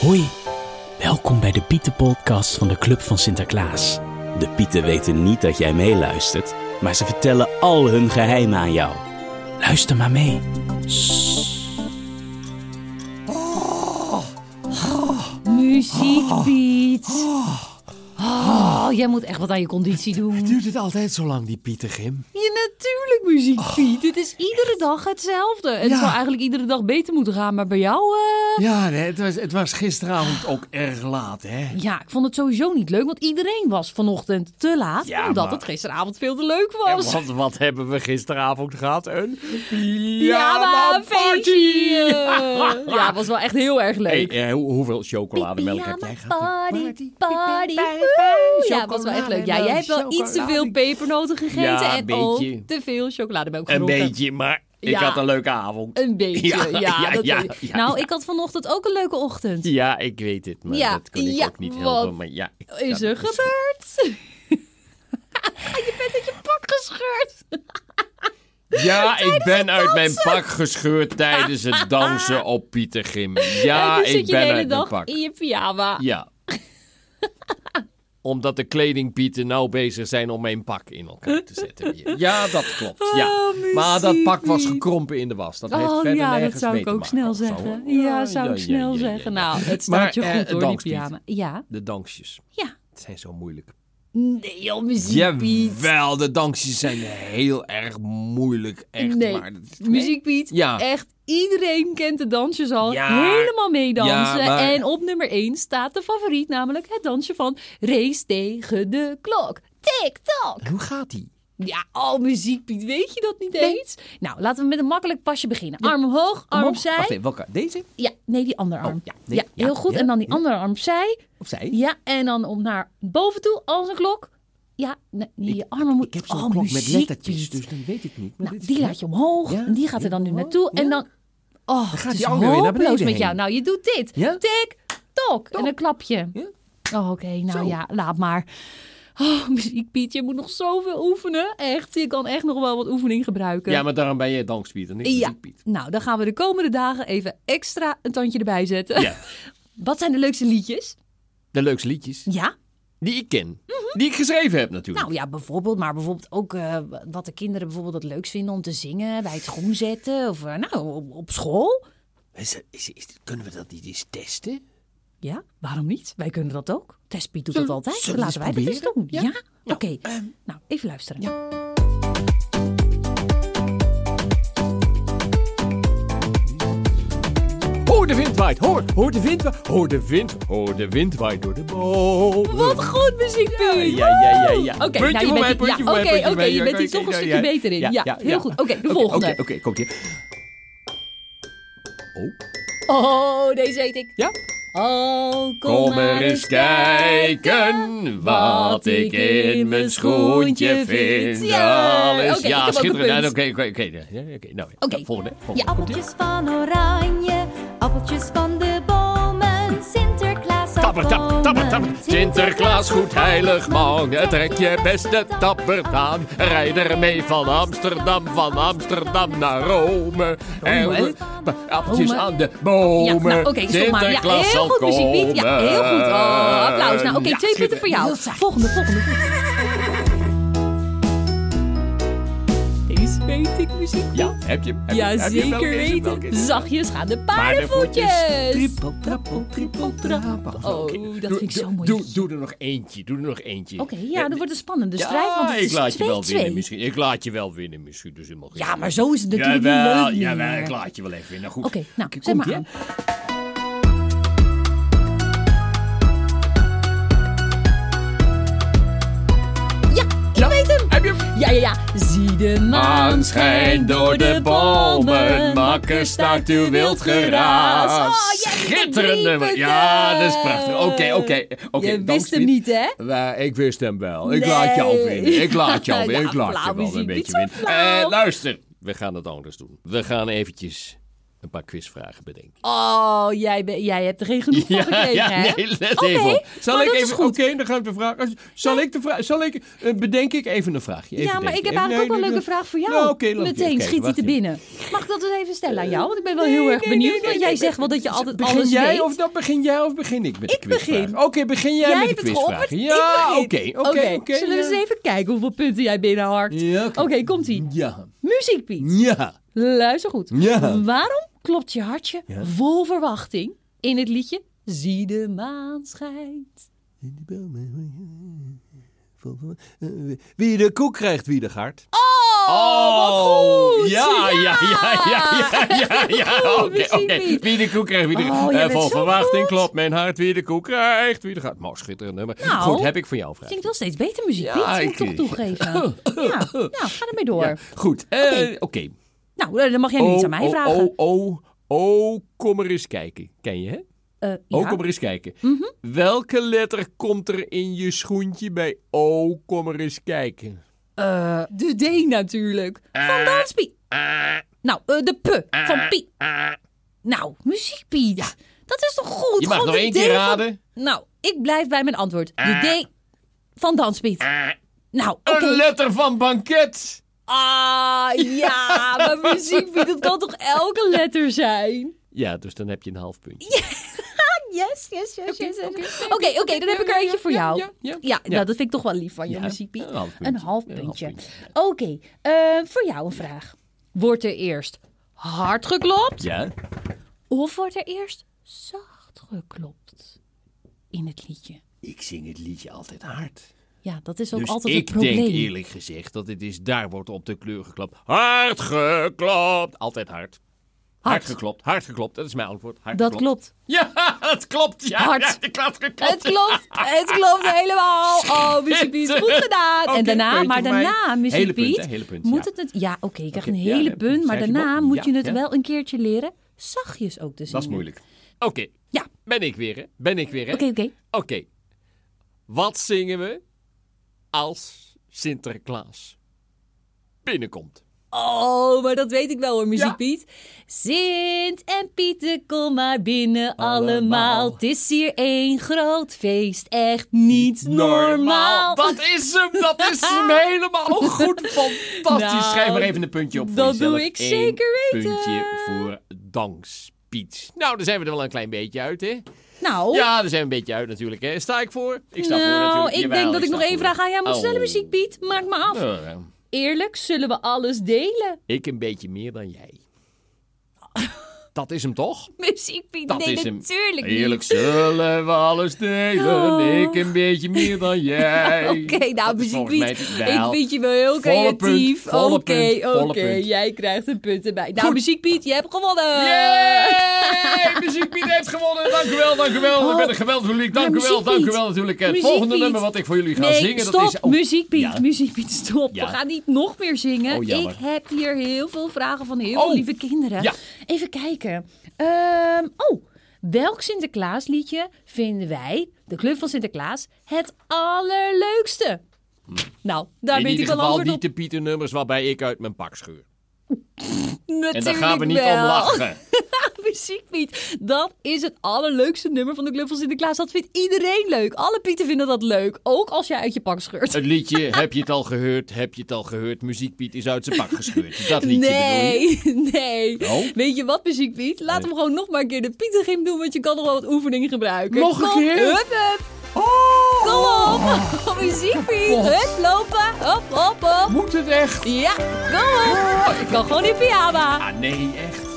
Hoi, welkom bij de Pietenpodcast van de Club van Sinterklaas. De Pieten weten niet dat jij meeluistert, maar ze vertellen al hun geheimen aan jou. Luister maar mee. Muziek, Piet. Ah. Oh, jij moet echt wat aan je conditie doen. Duurt het altijd zo lang, die Pieter Gim? Ja, natuurlijk, muziek, Piet. Dit is iedere dag hetzelfde. Het Ah. Ja. zou eigenlijk iedere dag beter moeten gaan, maar bij jou... eh, Ja, nee, het, was, het was gisteravond ook erg laat, hè? Ja, ik vond het sowieso niet leuk, want iedereen was vanochtend te laat. Ja, omdat maar- het gisteravond veel te leuk En was. wat, wat hebben we gisteravond gehad? Een Ja, maar pyjama een party! feestje. Ja, het was wel echt heel erg leuk. Hey, eh, hoe- hoeveel chocolademelk Ah, heb jij gehad? party, party. Oeh, Ja, het was wel echt leuk. Ja, jij hebt wel iets te veel pepernoten gegeten Ja, een en ook beetje. te veel chocolademelk Een gedronken. beetje, maar ik Ja. had een leuke avond. Een beetje, ja. Ja, ja, dat ja, weet ik. ja, nou, ja. ik had vanochtend ook een leuke ochtend. Ja, ik weet het, maar Ja, dat kon ik ja, ook niet wat helpen. Maar ja, ik- Is ja, er dat gebeurd? je bent uit je pak gescheurd. Ja, ik ben uit mijn pak gescheurd tijdens het dansen op Pieter Gim. Ja, en nu zit je ik de ben hele uit mijn dag pak. in je pyjama. Ja. Omdat de kledingpieten nou bezig zijn om mijn pak in elkaar te zetten. weer. Ja, dat klopt. Ja. Oh, Maar dat muziek, pak was Piet. gekrompen in de was. Dat heeft Oh verder ja, nergens dat zou mee ik te ook maken snel of zo. zeggen. Ja, zou ik ja, snel ja, ja, zeggen. ja. Nou, het Maar, staat je eh, goed hoor, die dankspiet. pyjama. Ja, De dansjes. ja. Het zijn zo moeilijk. Nee, joh, muziek, Piet. Jawel, de dansjes zijn heel erg moeilijk. Echt nee, waar. Dat- muziek, Piet. Ja. Echt, iedereen kent de dansjes al. Ja. Helemaal meedansen. Ja, maar- En op nummer 1 staat de favoriet, namelijk het dansje van Race tegen de klok. Tik-tok. Hoe gaat die? Ja, al muziek, Piet. Weet je dat niet eens? Nou, laten we met een makkelijk pasje beginnen. Arm omhoog, arm Omhoog? opzij. Wacht even, welke? Deze? Ja, nee, die andere arm. ja, nee, ja, heel goed. ja, en dan die andere arm opzij. Opzij? Ja, en dan om naar boven toe, als een klok. Ja, nee, je armen Ik moeten... heb zo'n oh, klok met muziek, lettertjes, Piet. dus dan weet ik niet. maar Nou, dit is die knap. laat je omhoog. Ja, en die gaat er dan nu ja, naartoe. ja. En dan... Oh, gaat het is die andere weer naar hopeloos beneden met heen. jou. Nou, je doet dit. Ja? Tik, tok. En een klapje. Ja. Oh, oké. Nou Zo. ja, laat maar. Oh, muziek Piet, je moet nog zoveel oefenen. Echt, je kan echt nog wel wat oefening gebruiken. Ja, maar daarom ben je dankspiet en ik eh, Ja. muziekpiet. Nou, dan gaan we de komende dagen even extra een tandje erbij zetten. Ja. Wat zijn de leukste liedjes? De leukste liedjes. Ja, Die ik ken. Die ik geschreven heb natuurlijk. nou ja, bijvoorbeeld. Maar bijvoorbeeld ook eh, wat de kinderen bijvoorbeeld het leukst vinden om te zingen bij het groen zetten. Of eh, nou, op, op school. Nou. Is, is, is- kunnen we dat niet eens testen? Ja, waarom niet? Wij kunnen dat ook. Testpiet doet dat altijd. zullen we Laten wij eens dat eens doen. proberen? Ja? Ja. Ehm, Oké. Nou, even luisteren. Hoor de wind waait, hoor, hoor de wind waait, hoor de wind, hoor de wind waait door de bomen. Wat goed muziek, Piet. Ja, ja, ja, ja. Oké, Puntje nou, je voor mij, bent, ja, puntje voor mij, oké, puntje voor oké, mij. je bent hier Oké, toch een ja, stukje ja. beter in. Ja, heel goed. Oké, de Oké, volgende. Oké, oké, komt hier. Oh. Oh, deze weet ik. Ja? Oh, kom, Kom maar er eens kijken wat ik in mijn schoentje vind. Ja, Alles, oké, ik ja, heb ook een schitterend. punt. Oké, oké, oké. ja, ja, Oké, nou, Oké. ja, volgende. Je volgende. Komt-ie. appeltjes van oranje, appeltjes van de bomen, Sinterklaas Tapper, tap, tapper, tapper. Sinterklaas, goed heilig man. Trek je beste tappert aan. Rijd er mee van Amsterdam, van Amsterdam naar Rome. En Rome? we- appeltjes Oh, Rome? aan de bomen. Ja, nou, oké, stop maar. Ja, heel Sinterklaas zal goed muziek, Piet. Ja, heel goed. Oh, applaus. Nou, oké, Ja, twee punten voor jou. Volgende, volgende. Deze weet ik muziek. Ja, heb je hem? Heb je Ja, hem? Heb je hem? zeker Welke is het? Welke is weten. het? Zachtjes gaan de paardenvoetjes. Trippel, trappel, trippel, trappel. Oh, Oké, dat doe- vind ik zo doe- mooi. Doe, doe er nog eentje, doe er nog eentje. Eh, Oké, ja, dan wordt het spannend. De strijd, ja, want het ik is laat je wel 2-2. winnen misschien. Ik laat je wel winnen misschien, dus helemaal geen Ja, maar zo is het natuurlijk niet Jawel, leuk meer. jawel, ik laat je wel even winnen. Goed. Oké, nou, Oké, zet maar komt-ie, aan. hè? Ja, ik weet hem. Heb je hem? Ja, ja, ja. Zie de maan schijnt Maan schijnt door de bomen, makker staat uw wild geraas. Oh, jij bent Schitterend drie nummer. punten. Ja, dat is prachtig. Oké, oké. oké. Je dank wist hem Piet. niet, hè? Maar ik wist hem wel. Ik laat jou Nee. winnen. Ik laat jou winnen. Ja, Ik laat flauw je wel muziek. een beetje Niet zo winnen. Eh, flauw. luister, we gaan het anders doen. We gaan eventjes een paar quizvragen bedenken. Oh, jij, ben- jij hebt er geen genoeg van gekregen, hè? nee, let Oké, even op. Zal maar ik dat is even, oké, goed. dan gaan we de vraag. Zal ik de vraag, zal ik, eh, bedenk ik even een vraagje. Even ja, maar denken. ik heb Even- eigenlijk ook wel nee, een leuke nee, nee. vraag voor jou. Nou, oké, laat ik even Meteen kijken, schiet hij wacht te even. Eh, binnen. Mag ik dat eens even stellen aan jou? Want ik ben wel heel Nee, erg nee, benieuwd. nee, nee, want jij nee, zegt wel dat je altijd Begin alles jij weet. of dat begin jij of begin ik met de Ik begin. quizvraag? Oké, begin jij, Jij met de hebt het quizvraag. geopperd, Ja, ik oké, begin. oké, oké. Zullen we ja. eens even kijken hoeveel punten jij binnenharkt? Ja, Oké, oké. komt-ie. Ja, Muziek, Piet. ja. Luister goed. Ja. Waarom klopt je hartje vol verwachting in het liedje Zie de maan schijnt? Eh, Wie de koek krijgt, wie de gart. Oh, wat goed! Ja, ja, ja, ja, ja, ja, ja. Goed, Oké, muziek oké. niet. Wie de koek krijgt, wie de Oh, jij Eh, bent zo Vol verwachting goed. klopt mijn hart. Wie de koek krijgt, wie de gart. Maar schitterend nummer. Nou. Goed, heb ik voor jou een vraag. Klinkt wel steeds beter muziek, Ja, Piet. Dat moet ik toch ik- toegeven. Ja, nou, ga ermee door. Ja, goed. Eh, Oké. Nou, eh, dan mag jij nu iets aan mij vragen. Oh, oh, oh, kom er eens kijken. Ken je, hè? Eh, Oh, ja. Mhm. kom er eens kijken. Welke letter komt er in je schoentje bij Oh, kom er eens kijken? Eh, de D natuurlijk. Eh, Van Danspie. Nou, eh, de P van Piet. Nou, muziek Piet. Dat is toch goed? eh. Je mag Gewoon nog de één D keer van- raden. Eh. Nou, ik blijf bij mijn antwoord. De D van Danspiet. Nou, oké. Een letter van banket. Ah, ja, maar muziek Piet, dat kan toch elke letter zijn? Ja, dus dan heb je een half puntje. Yes, yes, yes, yes. yes. Oké, oké, dan heb ik er eentje voor jou. ja, ja. Ja. nou, dat vind ik toch wel lief van je, Ja, muziek Piet. een half Een puntje. half Een half puntje. puntje, Oké, eh, voor jou een vraag. Wordt er eerst hard geklopt Ja. of wordt er eerst zacht geklopt in het liedje? Ik zing het liedje altijd hard. Ja, dat is ook dus altijd ik het probleem. denk eerlijk gezegd dat het is, daar wordt op de kleur geklapt. Hard geklopt. Altijd hard. Hard, Hard. geklopt, hard geklopt. Dat is mijn antwoord. Hard dat geklopt. klopt. Ja, dat klopt. Ja, Hard. Ja, ik had geklopt. Het klopt, het klopt helemaal. Oh, Missy Piet, goed gedaan. Oké, en daarna, puntje maar voor mij. daarna, Missy Hele punt, Piet, hè, hele punt, moet ja. het het... Ja, oké, je krijgt Oké, een ja, hele ja, punt, maar schrijf je daarna wel. moet Ja, je het ja. wel een keertje leren zachtjes ook te zingen. Dat is moeilijk. Oké, Ja, ben ik weer, hè? Ben ik weer, hè? oké, oké. Oké. Wat zingen we als Sinterklaas binnenkomt? Oh, maar dat weet ik wel hoor, Muziek Ja. Piet. Sint en Pieten, kom maar binnen allemaal. Allemaal. Het is hier één groot feest, echt niet normaal. Dat is hem, dat is hem helemaal goed. Fantastisch. Nou, Schrijf maar even een puntje op voor dat jezelf. doe ik Eén zeker weten. puntje voor dankspiet. Nou, daar zijn we er wel een klein beetje uit, hè? Nou, Ja, daar zijn we een beetje uit natuurlijk, hè? Sta ik voor? Ik sta voor nou, natuurlijk. ik Jawel, denk dat ik nog sta één voor. vraag aan jou moet Oh. stellen, Muziek Piet. Maak me af. Nou, ja. Eerlijk, zullen we alles delen? Ik een beetje meer dan jij. Dat is hem toch? Muziek Piet, Dat nee, is hem. natuurlijk Eerlijk niet. zullen we alles delen. Oh. Ik een beetje meer dan jij. Oké, nou, Dat is Muziek volgens mij Piet, ik wel- vind je wel heel Volle punt, creatief. Oké, volle oké, punt, volle punt. jij krijgt een punt erbij. Nou, Goed. Muziek Piet, je hebt gewonnen. Yay! Muziek Piet heeft gewonnen. Dank u wel, dank u Oh. wel. Ik ben een geweldig publiek. Dank maar u wel, Muziek dank u Piet. wel natuurlijk. Het Muziek volgende Piet. nummer wat ik voor jullie ga nee, zingen, stop, dat is... oh, Muziek Piet, ja. Muziek Piet, stop. Ja. We gaan niet nog meer zingen. Oh, jammer. ik heb hier heel veel vragen van heel Oh. veel lieve kinderen. Ja. Even kijken. Ehm, oh, welk Sinterklaasliedje vinden wij, de Club van Sinterklaas, het allerleukste? Nou, daar Hm. In weet ieder ik wel geval antwoord niet op. de Pieter nummers waarbij ik uit mijn pak scheur. Natuurlijk En daar gaan we niet wel. om lachen. Muziek Piet, dat is het allerleukste nummer van de Club van Sinterklaas. Dat vindt iedereen leuk. Alle Pieten vinden dat leuk, ook als jij uit je pak scheurt. Het liedje, heb je het al gehoord, heb je het al gehoord. Muziek Piet is uit zijn pak gescheurd. Dat liedje bedoel je? Nee, nee. Nou? Weet je wat, muziek Piet? Laat hem gewoon nog maar een keer de Pietergym doen, want je kan nog wel wat oefeningen gebruiken. Nog een Kom, keer? Oh! Hup, hup. Kom op. muziek Piet. Hup, lopen. Hop, hop, hop. Moet het echt? Ja, kom op. Ik kan gewoon in pyjama. Ah nee, echt.